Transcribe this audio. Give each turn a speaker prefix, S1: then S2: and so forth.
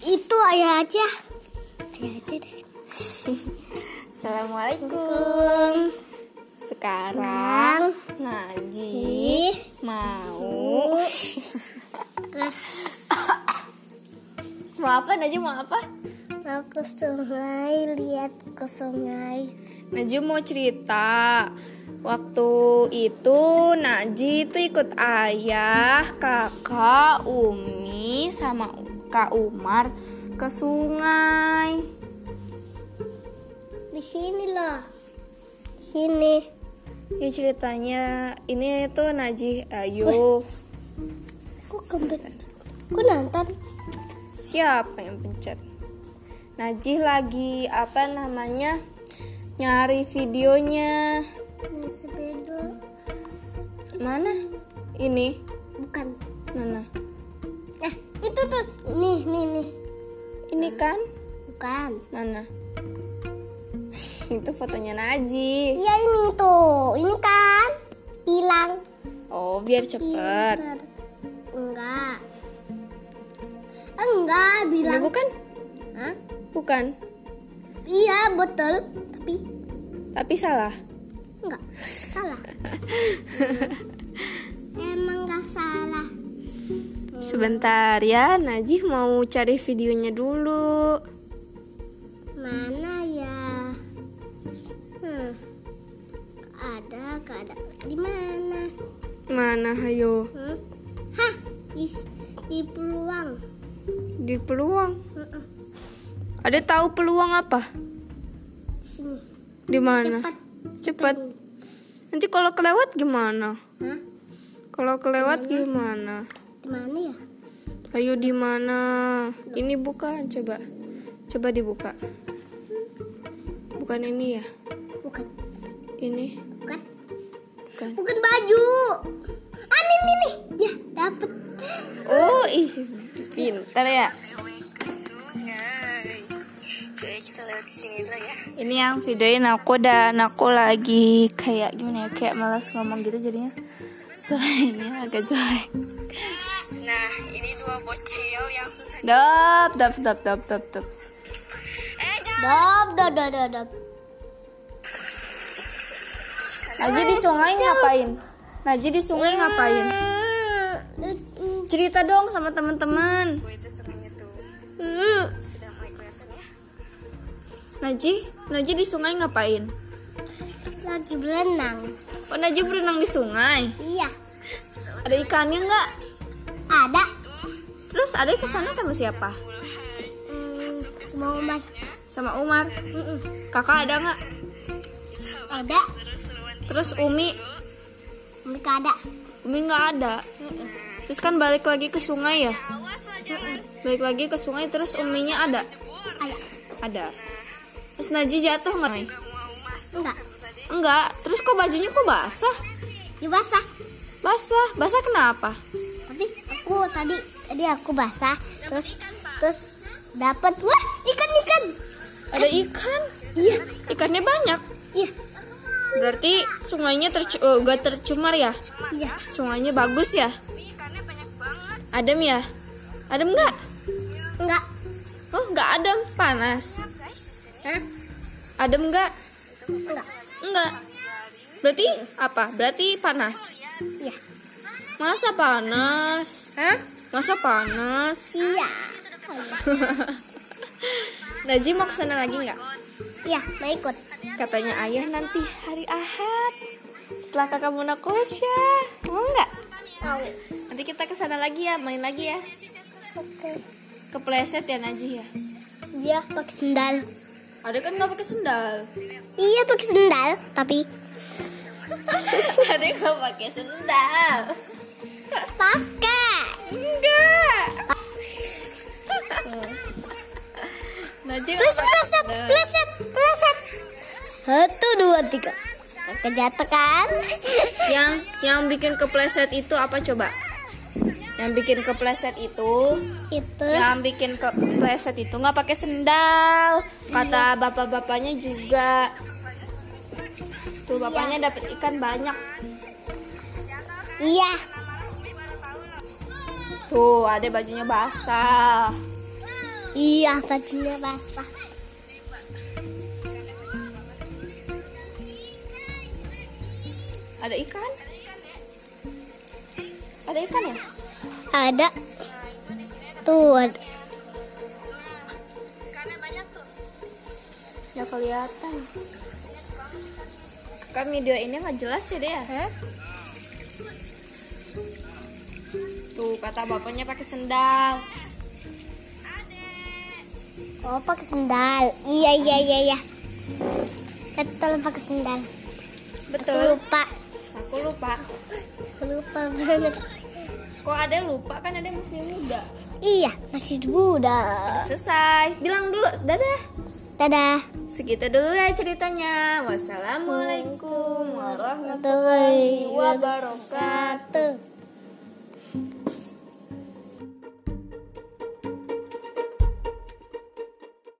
S1: Itu ayah aja. Ayah aja deh.
S2: Assalamualaikum.
S1: Kung
S2: Sekarang
S1: Lang
S2: ngaji
S1: Di
S2: mau
S1: Kes
S2: mau apa Najwa mau apa?
S1: Mau ke sungai Lihat ke sungai
S2: Najwa mau cerita Waktu itu Naji itu ikut ayah, kakak, Umi sama Kak Umar ke sungai.
S1: Di sini loh Sini
S2: Ya ceritanya ini tuh Najih Ayu.
S1: Kok kembet Kok nonton
S2: Siapa yang pencet? Najih lagi apa namanya? Nyari videonya.
S1: Ini sepeda
S2: Mana? Ini.
S1: Bukan
S2: Mana?
S1: Nah itu tuh Nih nih nih
S2: Ini kan?
S1: Bukan
S2: Mana? Itu fotonya Najih.
S1: Iya ini tuh Ini kan Bilang
S2: Oh, biar cepet.
S1: Pinter. Enggak Enggak
S2: Ini
S1: bilang
S2: Nah, bukan?
S1: Hah?
S2: Bukan.
S1: Iya betul Tapi
S2: Tapi salah.
S1: Enggak, salah. Emang enggak salah.
S2: Sebentar ya, Najih mau cari videonya dulu.
S1: Mana ya? Hmm. Ada, enggak ada. Di mana?
S2: Mana, hayo?
S1: Hmm? Hah, di, di peluang.
S2: Di peluang.
S1: Mm-mm,
S2: Ada tahu peluang apa?
S1: Di sini.
S2: Di mana?
S1: Cepat.
S2: Cepet. Nanti kalau kelewat gimana?
S1: Hah?
S2: Kalau kelewat gimana?
S1: Di mana ya?
S2: Ayo di mana? Ini bukan, coba. Coba dibuka. Bukan ini ya.
S1: Bukan.
S2: Ini
S1: Bukan.
S2: bukan.
S1: Bukan baju. Ah, ini nih, nih. Ya, dapet.
S2: Oh, ih, pintar ya. Ini yang videoin aku dan aku lagi kayak gimana ya kayak malas ngomong gitu jadinya suaranya agak jelek.
S3: Nah, ini dua bocil yang susah.
S2: Dap, dap, dap, dap, dap, dap.
S3: Eh, jangan.
S1: Dap, dap, dap, dap, dap.
S2: Naji di sungai ngapain? Naji di sungai ngapain?
S1: Hmm.
S2: Cerita dong sama teman-teman.
S3: Gue itu sungainya tuh
S1: Hmm.
S3: sudah mulai kelihatan ya.
S2: Naji, Naji di sungai ngapain?
S1: lagi berenang
S2: Oh, Naji berenang di sungai.
S1: iya
S2: Ada ikannya nggak?
S1: ada
S2: Terus ada ke sana sama siapa?
S1: Hmm, mau mas
S2: Sama Umar.
S1: Mm-mm.
S2: Kakak ada nggak?
S1: ada
S2: Terus Umi,
S1: mereka ada
S2: Umi nggak ada. Terus kan balik lagi ke sungai ya?
S3: Awas lah, jangan
S2: Balik lagi ke sungai terus Uminya ada?
S3: jebur.
S1: ada
S2: Ada. Terus Naji jatuh nggak? Nay?
S3: Gak mau masuk
S1: enggak
S3: tadi.
S2: Enggak. Terus kok bajunya kok basah?
S1: ya basah
S2: Basah. Basah kenapa?
S1: tapi aku tadi tadi aku basah terus terus dapat wah ikan ikan
S2: Ada ikan.
S1: iya
S2: Ikannya banyak.
S1: iya
S2: Berarti sungainya terc- eh, nggak tercemar ya?
S1: iya
S2: Sungainya bagus ya?
S3: Tapi ikannya banyak banget.
S2: Adem ya? Adem nggak?
S1: enggak
S2: Oh nggak adem, panas.
S3: Guys, di sini
S1: Hah?
S2: Adem nggak?
S1: enggak
S2: Nggak. Berarti apa? Berarti panas.
S1: iya
S2: Masa panas?
S1: Hah?
S2: Masa panas?
S1: iya
S2: Najib mau kesana lagi nggak?
S1: iya mau ikut
S2: Katanya ayah nanti hari Ahad setelah kakak Mona kosya mau nggak?
S1: mau
S2: Nanti kita kesana lagi ya, main lagi ya.
S1: oke
S2: Kepleset ya Najih ya.
S1: iya pakai sendal
S2: Ada kan nggak pakai sendal?
S1: iya pakai sendal tapi
S2: Ada yang nggak pakai sendal?
S1: pakai
S2: Enggak. Najih nggak
S1: Plus,
S2: pakai
S1: plus, up,
S2: sendal.
S1: plus, up, plus, up. Satu, dua, tiga. Kakak jatuh kan?
S2: yang yang bikin kepleset itu apa coba yang bikin kepleset itu
S1: Itu.
S2: yang bikin kepleset itu nggak pakai sendal kata bapak-bapaknya juga tuh bapaknya dapat ikan banyak
S1: Iya.
S2: tuh ada bajunya basah
S1: Iya, bajunya basah.
S2: Ada ikan? Ada ikan ya?
S1: Ada. Tuh, ada.
S2: Nggak kelihatan. Kan video ini nggak jelas ya deh ya?
S1: Hah?
S2: Tuh kata bapaknya pakai sendal.
S1: Oh, pakai sendal. Iya, iya, iya, iya. Kita tolong pakai sendal. Aku
S2: Betul.
S1: lupa.
S2: Aku lupa.
S1: Aku lupa banget.
S2: Kok ada lupa kan ada yang masih muda.
S1: Iya, masih muda.
S2: Selesai. Bilang dulu. Dadah.
S1: Dadah.
S2: Segitu dulu ya ceritanya. Wassalamualaikum
S1: Bye.
S2: warahmatullahi wabarakatuh.